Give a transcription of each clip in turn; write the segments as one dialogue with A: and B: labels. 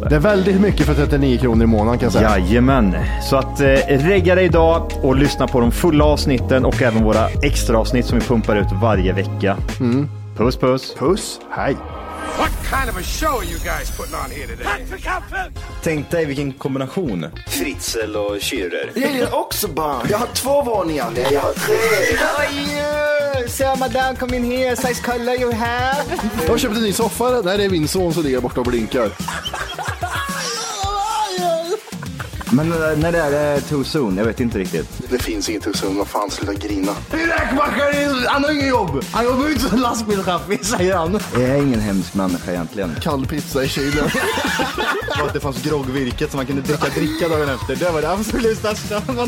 A: det.
B: Det är väldigt mycket för 39 kronor i månaden kan jag säga.
A: Jajamän, så att eh, regga dig idag och lyssna på de fulla avsnitten och även våra extra avsnitt som vi pumpar ut varje vecka. Puss puss!
B: Puss, hej.
C: What kind of a show are you guys putting on here today?
A: Tänk dig vilken kombination. Fritzl och Schürrer.
D: Jag är också barn. Jag har två våningar. Nej, jag har tre.
A: Sir, madame, come in here. Size color you have.
B: Jag har köpt en ny soffa. Nej, det är min son som ligger borta och blinkar.
A: Men eh, när det är det too soon? Jag vet inte riktigt.
D: Det finns inget hos honom. Vad fan, sluta grina.
A: Räkmackaren, han har inget jobb. Han jobbar inte som lastbilschaffis, säger han. Jag är ingen hemsk människa egentligen.
B: Kall pizza i kylen.
A: Och att det fanns groggvirket som man kunde dricka dricka dagen efter. Det var det absolut största.
E: 60%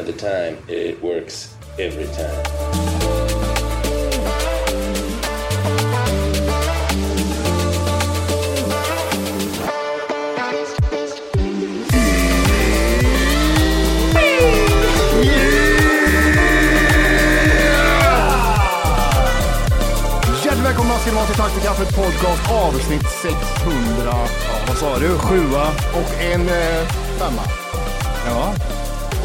E: of the time, it works every time.
B: Hjärtligt välkomna ska ni vara till Tack för kaffet podcast avsnitt 600. Ja, vad sa du? Sjua. Och en eh, femma.
A: Ja.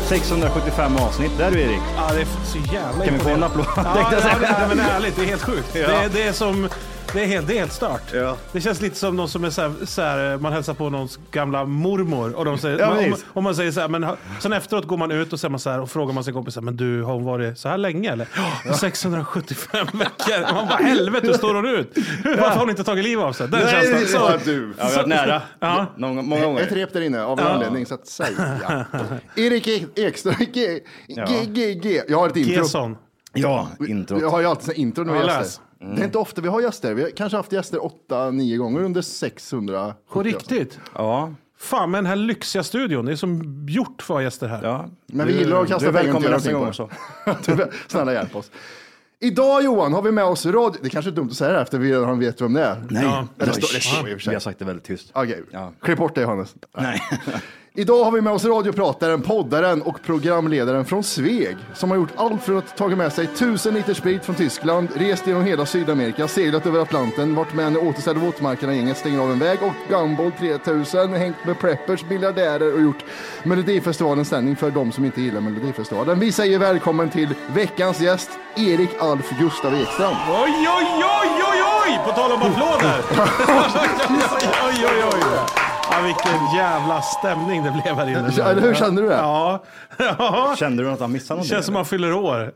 A: 675 avsnitt. Där du Erik.
F: Ja, det är så jävla
A: Kan vi få en
F: imponerande.
A: applåd?
F: Ja, ja, ja, men ärligt, det är helt sjukt. Det, är- det är som... Det är helt, det är helt stört.
A: Ja.
F: Det känns lite som någon som är så här, så här, man hälsar på någons gamla mormor och de säger,
A: Ja,
F: man, om,
A: precis.
F: om man säger så här, men ha- sen efteråt går man ut och, säger man så här, och frågar man sin kompis, så här, men du, har hon varit så här länge eller? Ja, 675 veckor. Och Man bara, helvete, hur står hon ut? Varför har hon inte tagit liv av sig? Den känslan. Så-
B: du.
A: Ja, vi har varit nära.
F: Ja.
A: Någon, gång- många
B: Ett
A: gånger.
B: rep där inne av en anledning, så att säga. Erik Ek- Ekström, G, G, G, G. Jag har ett intro.
F: Gesson.
A: Ja,
B: Jag
A: intro.
B: har ju alltid sån här intro när vi har
F: Ja,
B: gäster. Det är inte ofta vi har gäster. Vi har kanske haft gäster 8-9 gånger under 600.
F: På riktigt?
A: Ja.
F: Fan, med den här lyxiga studion. Det är som gjort för gäster här.
A: ja.
B: Men vi gillar att kasta
A: Du är
B: pengar och inte
A: välkommen
B: göra
A: nästa gång
B: någonting
A: också.
B: på det. Snälla hjälp oss. Idag Johan har vi med oss radio... Det kanske är dumt att säga det här efter vi redan vet vem det är.
A: Nej.
F: Ja.
B: Eller står- det står i och för sig.
A: Vi har sagt det väldigt tyst.
B: Okej,
A: Ja.
B: klipp bort det Hannes.
A: Nej.
B: Idag har vi med oss radioprataren, poddaren och programledaren från Sveg som har gjort allt för att tagit med sig tusen liter sprit från Tyskland, rest genom hela Sydamerika, seglat över Atlanten, varit med när återställde våtmarkerna gänget stänger av en väg och Gumball 3000, hängt med preppers, miljardärer och gjort Melodifestivalens sändning för de som inte gillar Melodifestivalen. Vi säger välkommen till veckans gäst, Erik Alf Gustav Ekstrand.
F: Oj, oj, oj, oj, oj! På tal om applåder! oj, oj, oj. Ja, vilken jävla stämning det blev här inne.
B: Ja, eller hur? Kände du det?
F: Ja. ja.
A: Kände du att han missade någonting?
F: Känns som man fyller år.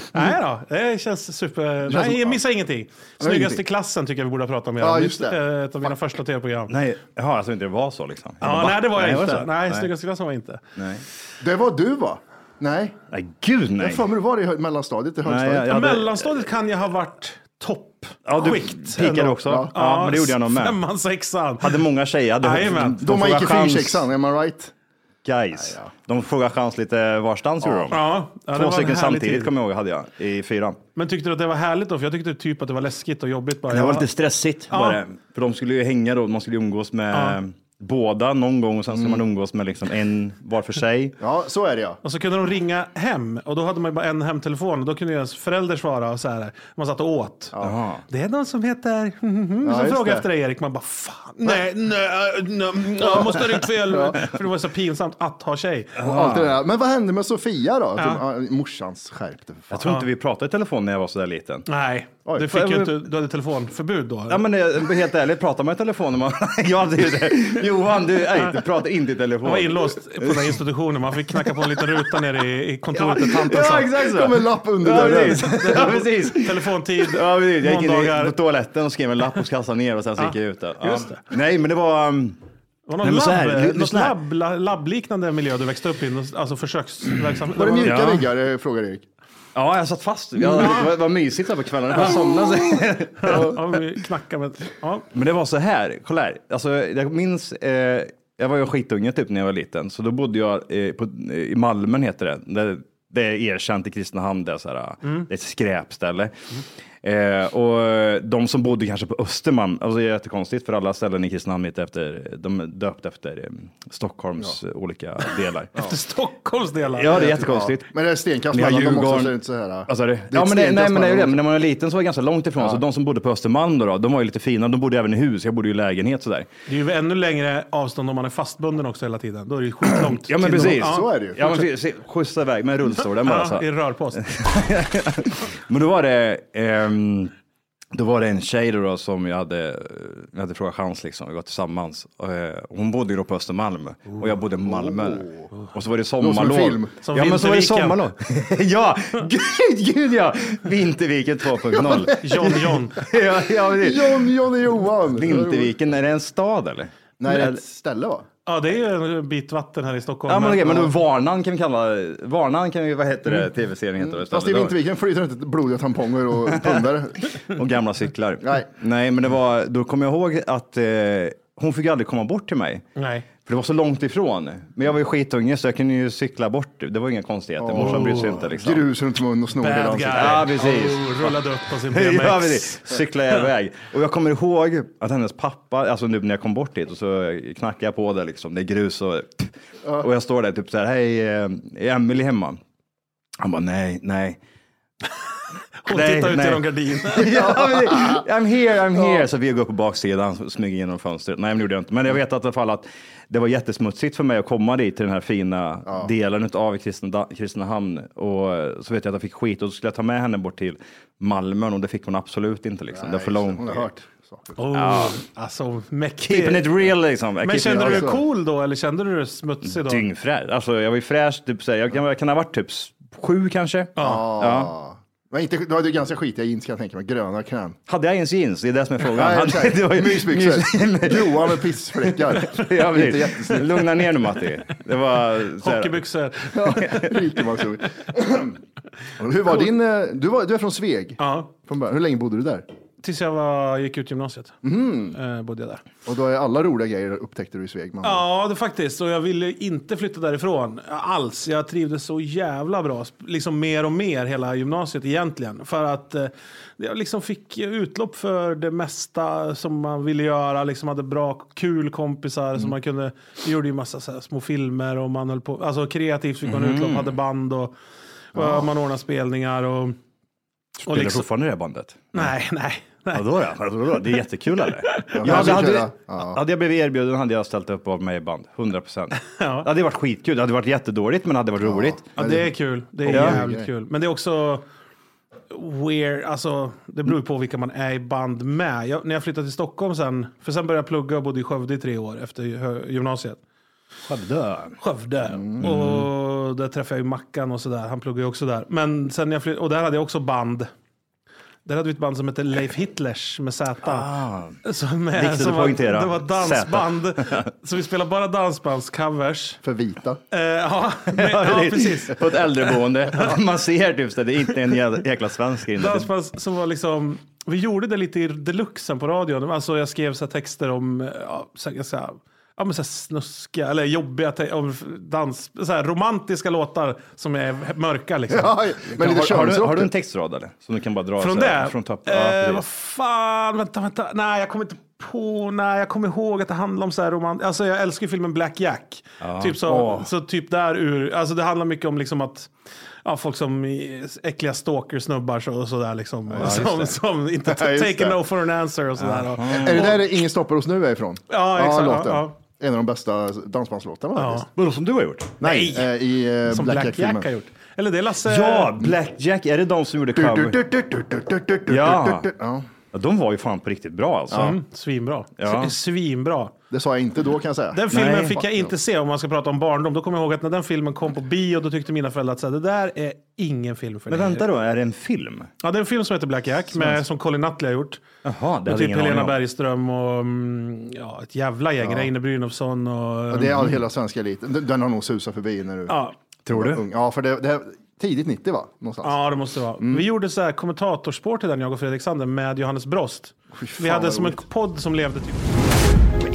F: Nej då, det känns super... Nej, jag missar ingenting. Snyggaste klassen tycker jag vi borde ha pratat om.
B: Ja, just det.
F: Eh, Ett av mina första tv-program.
A: Nej, jaha, alltså inte det var så liksom.
F: Ja, nej, det var jag
A: det
F: inte.
A: så?
F: Nej, snyggaste klassen var jag inte.
A: Nej.
B: Det var du va? Nej,
A: Nej, gud
B: jag har
A: nej.
B: för mig du var i hö- mellanstadiet, i högstadiet.
A: jag- jag- Ja, det-
F: Mellanstadiet kan jag ha varit topp.
A: Ja, du
F: Skikt
A: pikade
F: ändå.
A: också. Ja, men det gjorde jag nog med.
F: Femman, sexan.
A: Hade många tjejer. Hade,
F: Jajamän.
A: de
B: Då
A: får
B: man gick i
A: chans.
B: fyrsexan, am I right?
A: guys. De frågade chans lite varstans gjorde de.
F: Ja, ja, det var
A: Två
F: en
A: stycken
F: härlig tid.
A: samtidigt kommer jag ihåg hade jag i fyran.
F: Men tyckte du att det var härligt då? För jag tyckte typ att det var läskigt och jobbigt bara.
A: Det var
F: Ja.
A: lite stressigt var
F: Ja.
A: det. För de skulle ju hänga då, man skulle ju umgås med båda någon gång och sen
F: Mm.
A: skulle man umgås med liksom en var för sig.
B: Ja, så är det ja.
F: Och så kunde de ringa hem och då hade man ju bara en hemtelefon och då kunde ju ens förälder svara och så här. Man satt och åt. Det är någon som heter...
B: Ja,
F: som
B: just
F: frågar
B: det.
F: efter dig Erik. Man bara fan, nej, nej,
A: äh,
F: nej, nej jag måste ha ringt fel. För det var så pinsamt att ha tjej.
A: Ah.
B: Och allt det där. Men vad hände med Sofia då? Ja. Morsans skärpte för fan.
A: Jag tror inte vi pratade i telefon när jag var sådär liten.
F: Nej,
B: Oj,
F: du, fick ju
A: men-
F: inte, du hade telefonförbud då.
A: Ja men eh, helt ärligt, pratar man i telefon när man... ja, det är ju det. Johan, du, nej, du pratar inte i telefon.
F: Man var inlåst på den här institutionen. Man fick knacka på en liten ruta nere i, i kontoret där tanten
A: Ja,
F: satt.
A: exakt så.
B: kom en lapp under
A: Ja,
B: dörren.
A: precis. Ja, precis.
F: Telefontid,
A: Ja, precis. Jag gick in i-
F: måndagar.
A: på toaletten och skrev en lapp och kastade ner och sen så gick jag ut där. Ja.
F: just det.
A: Nej, men det var... um,
F: Var
A: Nej,
F: någon
A: men så
F: labb,
A: här, ly-
F: något
A: lyssna här.
F: labb, la- labbliknande miljö du växte upp i? Alltså försöksverksamhet?
B: Var det mjuka
A: Ja.
B: väggar? eh, Frågar Erik.
A: Ja, jag satt fast. Ja, det var, var mysigt där på kvällarna. Jag bara somnade.
F: Ja, vi knackar med... Ja.
A: Men det var så här, kolla här. Alltså, jag minns, eh, jag var ju skitunge typ när jag var liten, så då bodde jag eh, på, eh, i Malmen heter det. det. Det är erkänt i Kristinehamn, det är, så här, ah, det är ett skräpställe. Eh, och eh, de som bodde kanske på Östermalm, alltså det är jättekonstigt för alla ställen i Kristinehamn heter efter, de är döpt efter eh, Stockholms eh, olika delar. ja.
F: Till Stockholms delar.
A: ja, det är jättekonstigt.
B: Men det är stenkast
A: Ni har
B: mellan dem också,
A: Djurgården.
B: så det är inte så här.
A: Vad sa du?
B: ett
A: Ja, men Alltså, det,
B: stenkast
A: nej, men det är
B: mellan
A: ju det.
B: dem.
A: Men när man var liten så var det ganska långt ifrån. Så de som bodde på Östermalm då, då, de var ju lite fina. De bodde även i hus. Jag bodde ju i lägenhet sådär.
F: Det är ju ännu längre avstånd om man är fastbunden också hela tiden. Då är det ju skitlångt.
A: Ja, men
F: till-
A: precis.
B: Så är det ju.
A: Ja, men precis. Skjutsa iväg med rullstolen bara. alltså. Så.
F: Ja,
A: här.
F: I rörpost.
A: Men då var det, ehm, då var det en tjej då, då som jag hade, jag hade frågat chans liksom. Vi var tillsammans. Och, eh, Hon bodde ju då på Östermalm och jag bodde i Malmö. Och så var det sommarlov.
B: Låter som en film.
F: Som
A: ja, men så var det
F: Vinterviken.
A: sommarlov. ja, gud, gud ja. Vinterviken 2.0.
F: John, John.
A: ja, ja, precis.
B: John, Johnny Johan.
A: Vinterviken, är det en stad eller?
B: Nej, det är ett ställe va?
F: Ja, det är ju en bit vatten här i Stockholm.
A: Ja men okej, men då Varnan kan vi kalla Varnan kan vi, vad heter det, tv-serien heter det.
B: Mm. Fast i Vinterviken flyter inte blodiga tamponger och pundare.
A: Och gamla cyklar.
B: Nej.
A: Nej, men det var, då kommer jag ihåg att eh, hon fick ju aldrig komma bort till mig.
F: Nej.
A: För det var så långt ifrån. Men jag var ju skitunge så jag kunde ju cykla bort. Det var inga konstigheter. Morsan brydde sig inte liksom.
B: Grus runt mun och snor i
F: Bad
B: ansiktet.
F: guy.
A: Ja, precis.
F: Oh, rullade upp på sin BMX.
A: Ja, precis. Cyklade jag iväg. Och jag kommer ihåg att hennes pappa, alltså nu när jag kom bort dit och så knackade jag på det liksom. Det är grus och... Och jag står där typ så här, hej, eh, är Emelie hemma? Han bara, nej, nej.
F: Hon
A: Nej,
F: tittar ut
A: nej.
F: genom gardinen.
A: Ja, men det- I'm here, I'm here. Så vi går upp på baksidan och smyger genom fönstret. Nej, men det gjorde jag inte. Men jag vet att i alla fall att det var jättesmutsigt för mig att komma dit till den här fina delen av Kristinehamn. Och eh, så vet jag att jag fick skit och så skulle jag ta med henne bort till Malmö och det fick hon absolut inte. Liksom. det var för långt.
B: Hon har hört saker.
F: Oh, Alltså,
A: Keeping it
F: mäktig.
A: real liksom. Jag
F: Men
A: keeping
F: kände
A: it
F: du dig
A: real.
F: cool då, eller kände du dig smutsig då?
A: Dyngfräsch. Alltså jag var ju fräsch. Typ, såhär, jag, kan, jag kan ha varit typ s- sju kanske.
B: Ja. Men inte, du hade ju ganska skitiga jeans kan jag tänka mig. Gröna knän.
A: Hade jag ens jeans? Det är det som är frågan.
B: Nej,
A: Hade-
B: exakt.
A: det var ju-
B: Mysbyxor. Gråa med pissfläckar.
A: Ja, precis.
B: Inte jättesnyggt.
A: Lugna ner nu Matti. Det var så här-
F: Hockeybyxor.
B: Rikemansord. Hur var din... eh, Du, var, du är från Sveg.
F: Ja,
B: Från början. Hur länge bodde du där?
F: tills jag var, gick ut gymnasiet.
A: Mm.
F: Eh, bodde jag där.
B: Och då är alla roliga grejer upptäckte du i Sveg. Man.
F: Ja, det faktiskt. Och jag ville inte flytta därifrån alls. Jag trivdes så jävla bra, sp- liksom mer och mer hela gymnasiet egentligen. För att eh, jag liksom fick utlopp för det mesta som man ville göra. Liksom hade bra, kul kompisar
A: Mm.
F: som man kunde... Vi gjorde ju massa så här små filmer och man höll på... Alltså kreativt fick man
A: Mm.
F: utlopp, hade band och, och man ordnade spelningar och... och
A: Spelar
F: liksom,
A: fortfarande det här bandet?
F: nej, nej. nej.
A: Vadå då? Vadå då? Det är jättekul eller?
B: men
A: jag hade,
B: jag tror
A: hade,
B: det. Ja.
A: hade jag blivit erbjuden hade jag ställt upp och varit med i band. 100 procent.
F: Ja.
A: Det hade varit skitkul. Det hade varit jättedåligt men det hade varit roligt.
F: Ja, det är kul. Det är
A: Ja.
F: jävligt kul. Men det är också weird. Alltså, det beror ju på vilka man är i band med. Jag, när jag flyttade till Stockholm sen, för sen började jag plugga och bodde i Skövde i tre år efter hö- gymnasiet.
A: Skövde.
F: Skövde.
A: Mm.
F: Och där träffade jag ju Mackan och sådär. Han pluggade ju också där. Men sen när jag flyttade, och där hade jag också band. Där hade vi ett band som hette Leif Hitlers med Z. Som är,
A: Ah. Viktigt att poängtera.
F: Var, det var ett dansband. så vi spelade bara dansbandscovers.
B: För vita.
F: Eh, ja, men, ja, precis.
A: På ett äldreboende. Man ser typ så här, det är inte en jä- jäkla svensk inne.
F: Dansband som var liksom, vi gjorde det lite i deluxen på radion. Alltså jag skrev eh, så här texter om, ja, så här, så här, ja, men så här snuskiga eller jobbiga te- om dans, så här romantiska låtar som är mörka. Liksom.
B: Ja, men lite
A: har, har, du, har du en
B: könsrock.
A: textrad eller? Som du kan bara dra
F: Från
A: så här,
F: det?
A: Från topp.
F: eh,
A: ja,
F: vad
A: precis.
F: fan, vänta, vänta. Nej, jag kommer inte på. Nej, jag kommer ihåg att det handlar om så här romant... Alltså, jag älskar ju filmen Black Jack. Typ så,
A: Åh.
F: så typ där ur... Alltså det handlar mycket om liksom att... Ja, folk som i- äckliga stalker-snubbar så- och sådär liksom. som, som inte
B: Ja, just
F: take
B: det.
F: no for an answer och sådär. Och,
B: Är det där Ingen stoppar oss nu är ifrån?
F: Ja, exakt, ja,
B: låten.
F: ja.
B: En av de bästa dansbandslåtarna faktiskt.
A: Vadå som du har gjort?
F: nej,
B: Eh, I eh,
F: som
B: Black
F: Black, Jack,
B: Jack-filmen.
F: har gjort. Eller det är Lasse...
A: Ja, Blackjack, är det de som gjorde
B: Du, du,
A: cover?
B: du, du, du, du, du, du, du,
A: Ja.
B: du, du. Ja.
A: Ja, de var ju fan på riktigt bra alltså.
F: Mm, svinbra.
A: Ja.
F: Svinbra.
B: Det sa jag inte då kan jag säga.
F: Den filmen
A: Nej.
F: fick jag inte se om man ska prata om barndom. Då kommer jag ihåg att när den filmen kom på bio då tyckte mina föräldrar att så här, det där är ingen film för
A: Men
F: dig.
A: vänta då, alltså- är det en film?
F: Ja, det är en film som heter Black Jack med, som Colin Nutley har gjort.
A: Jaha, det
F: Med
A: hade
F: typ
A: ingen aning
F: Helena
A: om.
F: Bergström och mm, ja, ett jävla gäng. Reine Brynolfsson och...
B: Ja, Det är all, hela svenska eliten. Den- Den har nog susat förbi när du
F: ja.
A: Tror
B: var
A: du?
B: ung. Ja, för det, det här, tidigt 90 va? Någonstans.
F: Ja, det måste det vara.
B: Mm.
F: Vi gjorde så här kommentatorspår till den, jag och Fredrik Sander, med Johannes Brost. Vi hade
B: vad
F: som en podd som levde typ
B: Men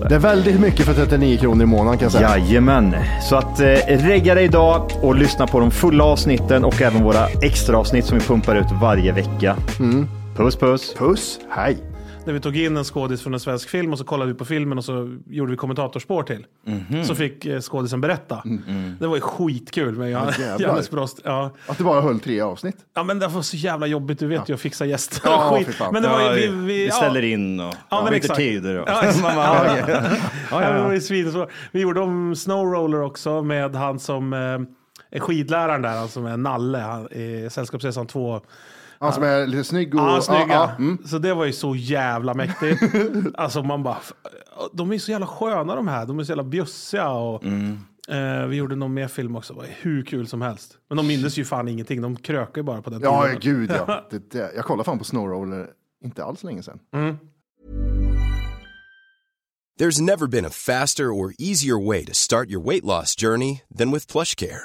A: det.
B: Det är väldigt mycket för 39 kronor i månaden kan jag säga.
A: Jajamän, så att eh, regga dig idag och lyssna på de fulla avsnitten och även våra extra avsnitt som vi pumpar ut varje vecka.
F: Mm.
A: Puss puss!
B: Puss, hej.
F: Där vi tog in en skådis från en svensk film och så kollade vi på filmen och så gjorde vi kommentatorspår till. Så fick eh, skådisen berätta. Det var ju skitkul med
B: jävlar.
F: Johannes Brost. Ja.
B: Att du bara höll tre avsnitt.
F: ja, men det var så jävla jobbigt. Du vet ju att fixa gäster
B: Ja,
F: och
B: fy
F: skit.
B: fan.
F: Men det var ju, vi, vi, ja.
A: in och
F: Ja, men exakt. Ja, exakt. Ja,
A: ja.
F: men Det var ju svinsvårt. Vi gjorde om Snow Roller också med han som eh, är skidläraren där, han som är Nalle han, i Sällskapsresan 2.
B: Han som är lite snygg och...
F: Ja, snygga.
B: ja, mm.
F: Så det var ju så jävla mäktigt. alltså man bara, f- de är så jävla sköna de här. De är så jävla bjussiga. Och,
B: Mm.
F: eh, vi gjorde någon mer film också, det var ju hur kul som helst. Men de mindes ju fan ingenting, de krökar ju bara på den
B: Ja,
F: tiden.
B: gud ja. Det, det. Jag kollade fan på Snowroller inte alls länge sedan.
G: There's never been a faster or easier way to start your weight loss journey than with PlushCare.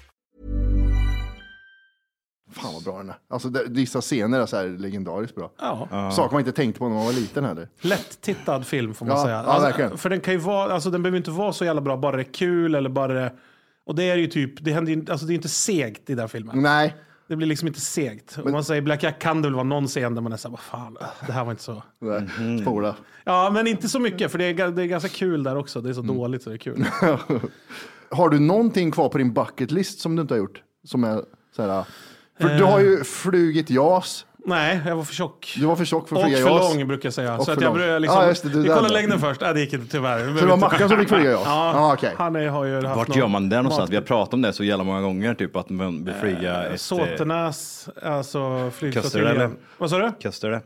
B: Fan vad bra den är. Alltså, det, vissa scener är så här legendariskt bra.
F: Ja.
B: Saker man inte tänkte på när man var liten heller.
F: Lätt-tittad film får man
B: Ja,
F: säga. Alltså,
B: ja, verkligen.
F: för den, kan ju vara, alltså, den behöver inte vara så jävla bra, bara det är kul eller bara det... Och det är ju typ, det, händer ju, alltså, det är inte segt i den filmen.
B: Nej,
F: Det blir liksom inte segt. Om man säger Black Jack kan det väl vara någon scen där man är såhär, vad fan, det här var inte så...
B: det där. Mm-hmm.
F: Mm-hmm.
B: spola.
F: Ja, men inte så mycket, för det är, ga- det är ganska kul där också. Det är så
B: Mm.
F: dåligt så det är kul.
B: Har du någonting kvar på din bucket list som du inte har gjort? Som är så här, för du har
F: Eh.
B: ju flugit JAS.
F: Nej, jag var för tjock.
B: Du var för tjock för att
F: och
B: flyga
F: för
B: JAS.
F: lång brukar jag säga.
B: Och
F: så att
B: för
F: jag
B: lång.
F: började liksom,
B: Ja, just det, det
F: vi
B: där
F: kollar
B: då.
F: längden först. Nej, det gick inte tyvärr.
B: Så det var Mackan som fick flyga JAS?
F: Ja,
B: ah, okej.
F: han är, har ju haft
A: Vart
F: någon
A: gör man det någonstans?
F: mat-
A: Vi har pratat om det så jävla många gånger, typ att man vill flyga ett... eh,
F: Såtenäs, alltså
A: Kuster, eller?
F: flygflottiljen. Vad sa du?
A: Kastar det?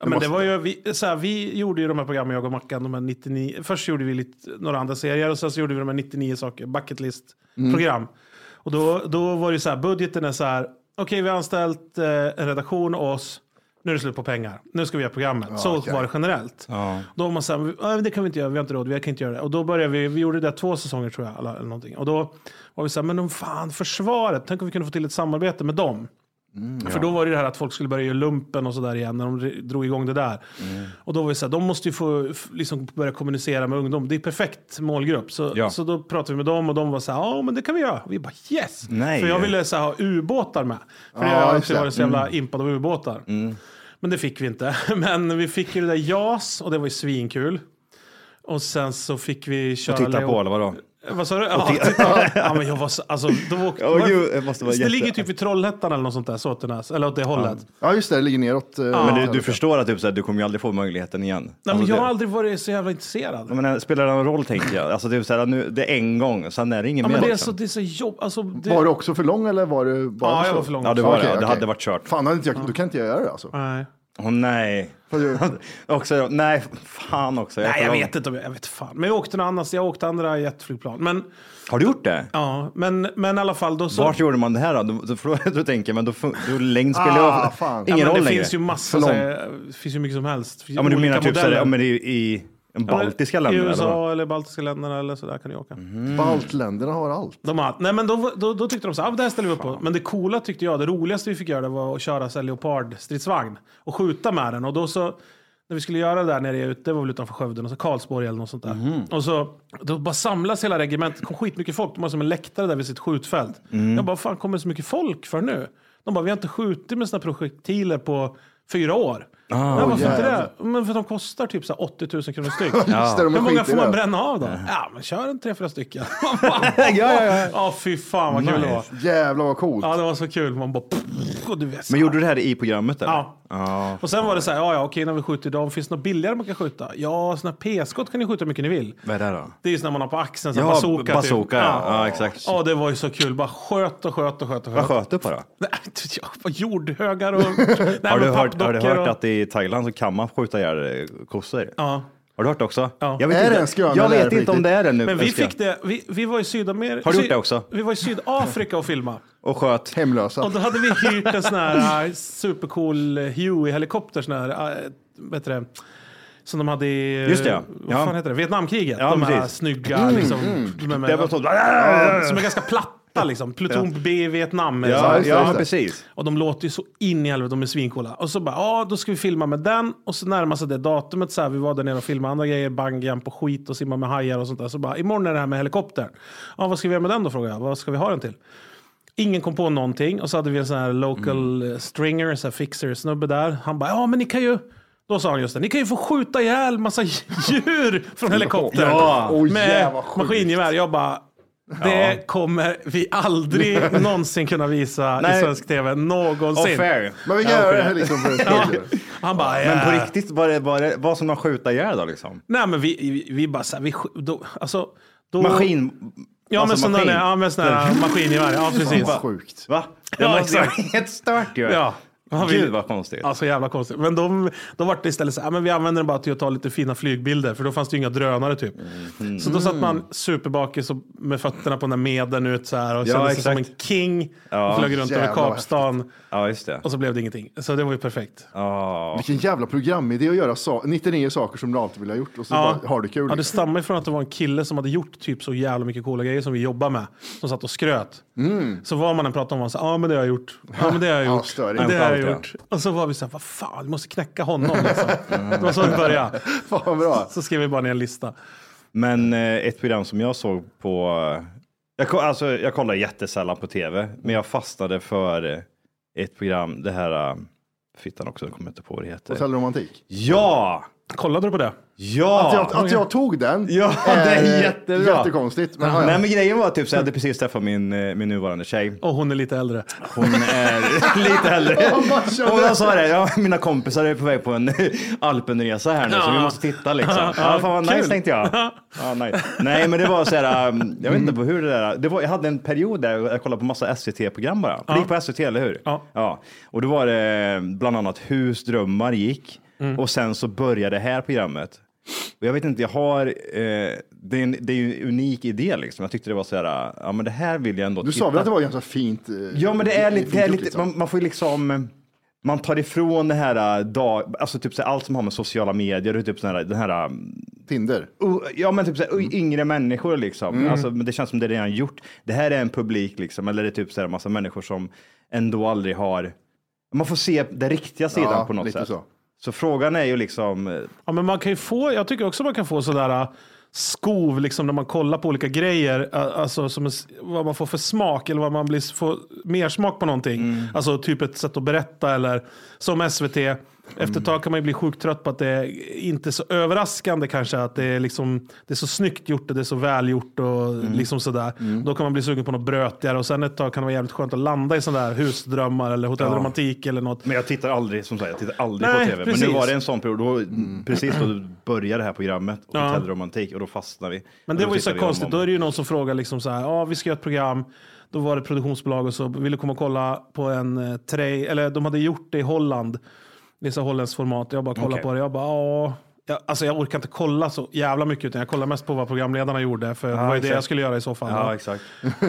F: Ja, men det var ju, vi, så här, vi gjorde ju de här programmen, jag och Mackan, de här 99, först gjorde vi lite, några andra serier och sen så gjorde vi de här 99 saker, bucket list
A: Mm.
F: program. Och då, då var det ju så här, budgeten är så här, okej vi har anställt eh, en redaktion och oss, nu är det slut på pengar, nu ska vi göra programmet.
A: Ja,
F: så
A: okej.
F: var det generellt.
A: Ja.
F: Då var man så här, "Ja, men det kan vi inte göra, vi har inte råd, vi kan inte göra det. Och då började vi, vi gjorde det två säsonger tror jag, eller eller någonting. Och då var vi så här, men de fan, försvaret, tänk om vi kunde få till ett samarbete med dem.
A: Mm,
F: För då var det det här att folk skulle börja göra lumpen och sådär igen när de re- drog igång det där.
A: Mm.
F: Och då var det så här, de måste ju få f- liksom börja kommunicera med ungdom. Det är perfekt målgrupp. Så,
A: Ja.
F: så då pratade vi med dem och de var så här, ja men det kan vi göra. Och vi bara yes!
A: Nej.
F: För jag ville så här, ha ubåtar med. För
A: Ja,
F: jag
A: just
F: har alltid
A: det.
F: varit så jävla
A: Mm.
F: impad av ubåtar. Men det fick vi inte. Men vi fick ju det där JAS och det var ju svinkul. Och sen så fick vi köra...
A: Och titta
F: Leo-
A: på eller vadå?
F: Vad sa du? Ja,
A: ti-
F: titta. ja, men jag var så, alltså, då åkte,
A: Ja, gud, det måste vara
F: det
A: jätte-
F: ligger typ vid Trollhättan eller något sånt där, Såtenäs. Eller åt det hållet.
B: Ja, just det, det ligger neråt. eh,
A: Men du,
B: här
A: du
B: uppe.
A: förstår att typ, så här, du kommer ju aldrig få möjligheten igen.
F: Nej, men
A: Alltså,
F: jag har
A: det-
F: aldrig varit så jävla intresserad.
A: Ja, Men, spelar det någon roll tänker jag? Alltså, typ, så här, nu, det är en gång, sen är det ingen
F: Ja,
A: mer.
F: men det är
A: liksom.
F: så, det är så jobb... Alltså, det...
B: Var du också för lång eller var du bara
F: Ja, jag var för lång.
A: Ja, det var
B: Okej,
A: det. Det
B: okej.
A: hade varit kört.
B: Fan, hade inte jag, då kan inte jag göra det alltså.
F: Nej.
A: Åh nej. också, nej, fan också.
F: Nej, jag vet inte om jag, jag vet fan. Men jag åkte någon annans, jag åkte andra jetflygplan. Men,
A: Har du gjort det?
F: ja, men, men i alla fall då så...
A: Vart gjorde man det här då? Då, då, då, då tänker jag, men då, fun- då längd spelar
B: Ah,
A: jag-
F: ja,
A: ingen
F: men
A: roll
F: det
A: längre.
F: finns ju massa,
A: För
F: så
A: lång.
F: här, det finns ju mycket som helst.
A: Ja, men du
F: Olika
A: menar typ så här,
F: modeller.
A: ja, men det är ju i de
F: Ja, men
A: baltiska länderna?
F: I
A: eller vad?
F: USA eller baltiska länderna eller sådär kan du åka.
A: Mm.
B: Baltländerna har allt.
F: De har, nej, men då, då, då tyckte de så här, ah, det här ställer vi upp på. Men det coola tyckte jag, det roligaste vi fick göra det var att köra så här leopardstridsvagn och skjuta med den. Och då så, när vi skulle göra det där nere ute, det var väl utanför Skövde, och så Karlsborg eller något sånt där.
A: Mhm.
F: Och så, då bara samlas hela regementet, kom skitmycket folk. De har som en läktare där vid sitt skjutfält.
A: Mm.
F: Jag bara, fan kommer det så mycket folk för nu? De bara, vi har inte skjutit med såna projektiler på fyra år.
A: Ah,
F: Nej, varför inte det? Men för att de kostar typ så här 80 000 kronor styck.
B: Just det, de
F: Hur många
B: skiter i
F: får man
B: det.
F: bränna av då? Ja, men kör en tre, fyra stycken.
A: ja, ja, ja.
F: Ja, fy fan vad kul det var.
B: Jävlar vad coolt.
F: Ja, det var så kul. Man bara... pff, Och, du vet,
A: Men gjorde du det här i programmet eller?
F: Ja.
A: Ja.
F: och sen var det så här, ja, ja okej, när vi skjuter idag, finns det något billigare man kan skjuta? Ja, såna här p-skott kan ni skjuta hur mycket ni vill.
A: Vad är det här då?
F: Det är ju såna man har på axeln, så
A: Ja,
F: här bazooka. typ.
A: bazooka, ja. Ja, exakt.
F: Ja, det var ju så kul. Bara sköt och sköt och sköt och
A: Vad
F: sköt.
A: sköt du på då?
F: Nej, jag var jordhögar och... Nej,
A: Har
F: men
A: du, hört, har du
F: pappdockor
A: hört
F: och-
A: att i Thailand så kan man skjuta ihjäl eh, kossor?
F: Ja.
A: Har du hört det också?
F: Ja.
A: Jag vet
B: Är
A: inte,
B: det en skröna
A: jag
B: eller är
A: vet
B: det
A: inte om
B: riktigt?
A: det är det nu.
F: Men vi
A: älskar jag.
F: fick det, vi, vi var i Sydamerika.
A: Har du gjort det också?
F: Vi var i Sydafrika och filmade.
A: Och sköt.
B: Hemlösa.
F: Och då hade vi hyrt en sån här eh, supercool Huey-helikopter. Sån här, äh, vet du det, som de hade i... eh,
A: Just det, ja.
F: Vad
A: Ja.
F: fan heter det? Vietnamkriget.
A: Ja,
F: de här
A: precis. Mm,
F: snygga liksom. Med, med,
A: Det var så...
F: Ja, som är ganska platta liksom. Pluton B i Vietnam. liksom. eller så
A: Ja,
F: här.
A: ja men precis.
F: Och de låter ju så in i helvete, de är svinkola. Och så bara, ja då ska vi filma med den. Och så närmar sig det datumet, så här, vi var där nere och filmade andra grejer, bangjump och skit och simma med hajar och sånt där. Så bara, imorgon är det här med helikoptern. Ja vad ska vi göra med den då frågar jag, vad ska vi ha den till? Ingen kom på någonting och så hade vi en sån här local
A: Mm.
F: eh, stringer, så här fixer snubbe där. Han bara, ja men ni kan ju, då sa han just det, ni kan ju få skjuta ihjäl massa djur från helikoptern.
A: Ja.
B: Oj,
F: med
B: jävla sjukt.
F: maskingevär. Jag bara, det kommer vi aldrig någonsin kunna visa i
A: Nej.
F: svensk tv
A: Och
F: någonsin.
A: Oh, fair.
B: Men vi kan göra det här liksom för
F: Ja.
B: skoj.
F: Han bara,
A: Men på
F: "Ja."
A: riktigt, var det, var det vad som man skjuta ihjäl då liksom?
F: Nej men vi, vi, vi bara så här, vi, sk- då, alltså. Då,
A: Maskin...
F: Ja men
A: alltså,
F: sådana
A: maskin.
F: där, ja men sådana där maskingevär. Ja precis.
B: Vad sjukt.
A: Va? Det
F: Ja,
A: måste
F: exakt.
A: vara helt stört ju.
F: Ja. Han vill- Alltså-
A: Gud vad konstigt.
F: Ja, så jävla konstigt. Men de, då vart det istället så här, "Ja, men vi använder den bara till att ta lite fina flygbilder, för då fanns det ju inga drönare typ.
A: Mhm.
F: Så då satt
A: Mm.
F: man superbakis och med fötterna på den där meden ut så här och
A: Ja,
F: kände sig som en
A: exakt.
F: king
A: Ja.
F: och flög runt över
B: Jävlar, vad
F: Kapstan
A: Ja, just det.
F: och så blev det ingenting. Så det var ju perfekt.
A: Ja.
B: Vilken jävla programidé att göra sa- 99 saker som du alltid vill ha gjort och så bara har du kul.
F: Ja, det
B: liksom.
F: stammar ifrån att det var en kille som hade gjort typ så jävla mycket coola grejer som vi jobbar med. Som satt och skröt. Så var man en pratade om var han så ja ah, men det har jag gjort. Ja men det har jag
B: Ja,
F: gjort.
B: störigt.
F: det har jag
A: Ja.
F: gjort. Och så var vi så här, vad fan, vi måste knäcka honom liksom. Det var så det började.
B: Fan vad bra.
F: Så skrev vi bara ner en lista.
A: Men eh, ett program som jag såg på... eh, Jag, ko- alltså, jag kollar jättesällan på tv, men jag fastnade för eh, ett program, det här... eh, Fittan också, jag kommer inte på vad det heter.
B: Hotellromantik.
A: Ja!
F: Kollade du på det?
B: Att
A: Ja!
B: jag, att jag tog den Eh,
A: Ja, det är jättebra.
B: jättekonstigt. Men, ja, ja.
A: Nej men grejen var typ så jag hade precis träffat min, eh, min nuvarande tjej.
F: Och hon är lite äldre.
A: Hon är lite äldre.
B: kände-
A: Och alltså- jag sa det, ja, mina kompisar är på väg på en alpenresa här nu så vi måste titta liksom. Ja, fan vad nice
F: kul.
A: tänkte jag. Ja, nice. Nej men det var så här, um, jag vet inte på hur det där, det var, jag hade en period där jag kollade på massa SVT-program bara. Det gick på SVT, eller hur?
F: Ja.
A: Och då var det um, bland annat Husdrömmar gick och sen så började det här programmet. Och jag vet inte, jag har, eh, det, är en, det är ju en unik idé liksom. Jag tyckte det var så här, ja men det här vill jag ändå
B: Du sa väl att det var ganska fint? eh,
A: Ja, men det är
B: fint
A: lite, det är
B: gjort,
A: lite
B: liksom.
A: man, man får ju liksom... man tar ifrån det här, äh, dag, alltså typ så här, allt som har med sociala medier och typ så här, den här... ähm,
B: Tinder?
A: Uh, ja, men typ så här,
F: Mm.
A: uh, yngre människor liksom.
B: Mm.
A: Alltså, men det känns som det är redan gjort. Det här är en publik liksom, eller det är typ så här en massa människor som ändå aldrig har... Man får se den riktiga sidan
B: Ja,
A: på något
B: lite
A: sätt.
B: så.
A: så frågan är ju liksom, eh,
F: Ja, men man kan ju få, jag tycker också man kan få sådär äh, skov liksom när man kollar på olika grejer. äh, Alltså som en, s- vad man får för smak eller vad man blir, s- får mer smak på någonting. Alltså typ ett sätt att berätta eller som SVT. Efter ett tag kan man ju bli sjukt trött på att det är inte så överraskande kanske. Att det är, liksom, det är så snyggt gjort och det är så välgjort och liksom sådär. Då kan man bli sugen på något brötigare och sen ett tag kan det vara jävligt skönt att landa i sådana där husdrömmar eller hotellromantik eller något.
A: Men jag tittar aldrig, som sagt, jag tittar aldrig
F: Nej,
A: på tv.
F: precis. Mm.
A: Men nu var det en sån period, då, precis då började det här programmet, och
F: Ja.
A: hotellromantik, och då fastnade vi.
F: Men
A: Och
F: det
A: då
F: var ju så
A: tittade
F: här
A: vi om och
F: konstigt.
A: om.
F: Då är det ju någon som frågar liksom så här. Ja, vi ska göra ett program. Då var det ett produktionsbolag och så ville komma och kolla på en eh, trej. Eller de hade gjort det i Holland. Det är så här holländskt format. Jag bara kollade
A: Okej.
F: på det. Jag bara, ja. Jag, alltså jag orkar inte kolla så jävla mycket utan jag kollar mest på vad programledarna gjorde. För det var ju det
A: Ah, exakt.
F: jag skulle göra i så fall.
A: Ja,
F: va?
A: exakt.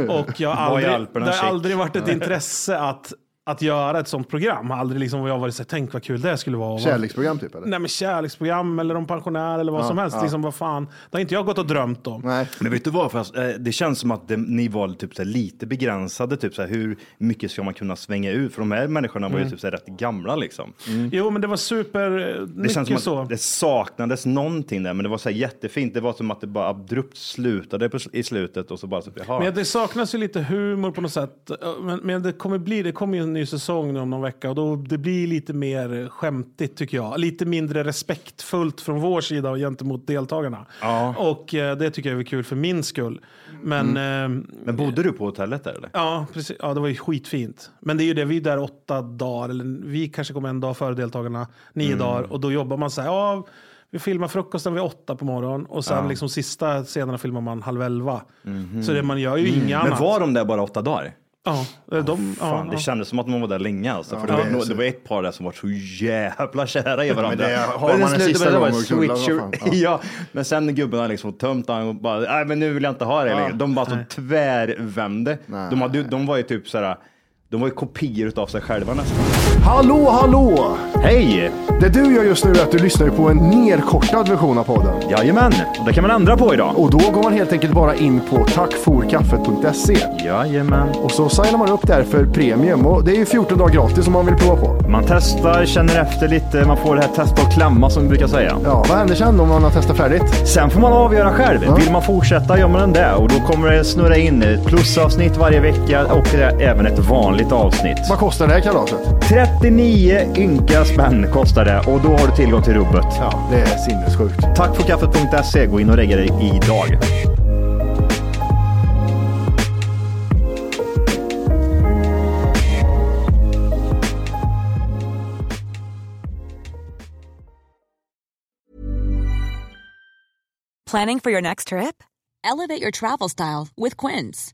F: Och jag har
A: Vad i
F: aldrig,
A: Alperna
F: det
A: chic?
F: har aldrig varit ett intresse att, att göra ett sånt program. Har Aldrig liksom jag har varit så här, tänk vad kul det skulle vara. Och vad-
B: Kärleksprogram typ eller?
F: Nej men kärleksprogram eller om pensionärer eller vad
A: Ah,
B: Ja,
F: som helst.
B: ja.
F: Liksom, vad fan. Det har inte jag gått och drömt om.
B: Nej.
A: Men vet du vad, fast, eh, det känns som att det, ni var typ så här, lite begränsade, typ så här, hur mycket ska man kunna svänga ut? För de här människorna var ju
F: Mm.
A: typ så här, rätt gamla liksom.
F: Jo, men det var super eh,
A: Det känns som
F: Mm. mycket
A: att
F: så.
A: det saknades någonting där, men det var så här jättefint. Det var som att det bara abrupt slutade på, i slutet och så bara typ, jaha.
F: Men det saknas ju lite humor på något sätt. Eh, Men, men det kommer bli, det kommer ju en ny säsong nu om någon vecka och då det blir lite mer eh, skämtigt tycker jag. Lite mindre respektfullt från vår sida och gentemot deltagarna.
A: Ja. Mm.
F: Och eh, det tycker jag är kul för min skull. Men eh,
A: Men bodde du på hotellet där eller?
F: ja, precis, ja, det var ju skitfint. Men det är ju det, vi är där åtta dagar, eller vi kanske kommer en dag före deltagarna, nio dagar och då jobbar man så här. Ja, vi filmar frukosten vid åtta på morgonen och sen liksom sista scenerna filmar man halv elva. Så det, man gör ju inget annat.
A: Men var de där bara åtta dagar?
F: Ja, eh,
A: Fan,
F: de, ja,
A: det
F: ja.
A: kändes som att man var där länge alltså. För det, var,
B: men-
A: no- det var ett par där som var så jävla kära i varandra.
B: det har
A: Men det
B: man en
A: slutade
B: sista
A: med att det var
B: gång
A: ett
B: och knulla,
A: switcher-
B: vad
A: ja.
B: fan.
A: men sen när gubben har liksom tömt han och bara, nej men nu vill jag inte ha det längre. De bara så tvärvände. De, hade, ju- de var ju typ såhär, de var ju kopior utav sig själva nästan.
B: Hallå, hallå!
A: Hej!
B: Det du gör just nu är att du lyssnar på en nerkortad version av podden.
A: Jajamän, och det kan man ändra på idag.
B: Och då går man helt enkelt bara in på tackforkaffet.se
A: Jajamän.
B: och så signar man upp där för premium. Och det är ju 14 dagar gratis om man vill prova på.
A: Man testar, känner efter lite, man får det här testa och klämma som vi brukar säga.
B: Ja, vad händer sen om man har testat färdigt?
A: Sen får man avgöra själv. Vill man fortsätta gör man det och då kommer det snurra in ett plusavsnitt varje vecka och det är även ett vanligt avsnitt.
B: Vad kostar det här kalaset?
A: 39 ynka spänn kostar det och då har du tillgång till rubbet.
B: Ja, det är sinnessjukt.
A: Tack för kaffet.se. E. Gå in och lägg dig idag.
H: Planning for your next trip? Elevate your travel style with Quince.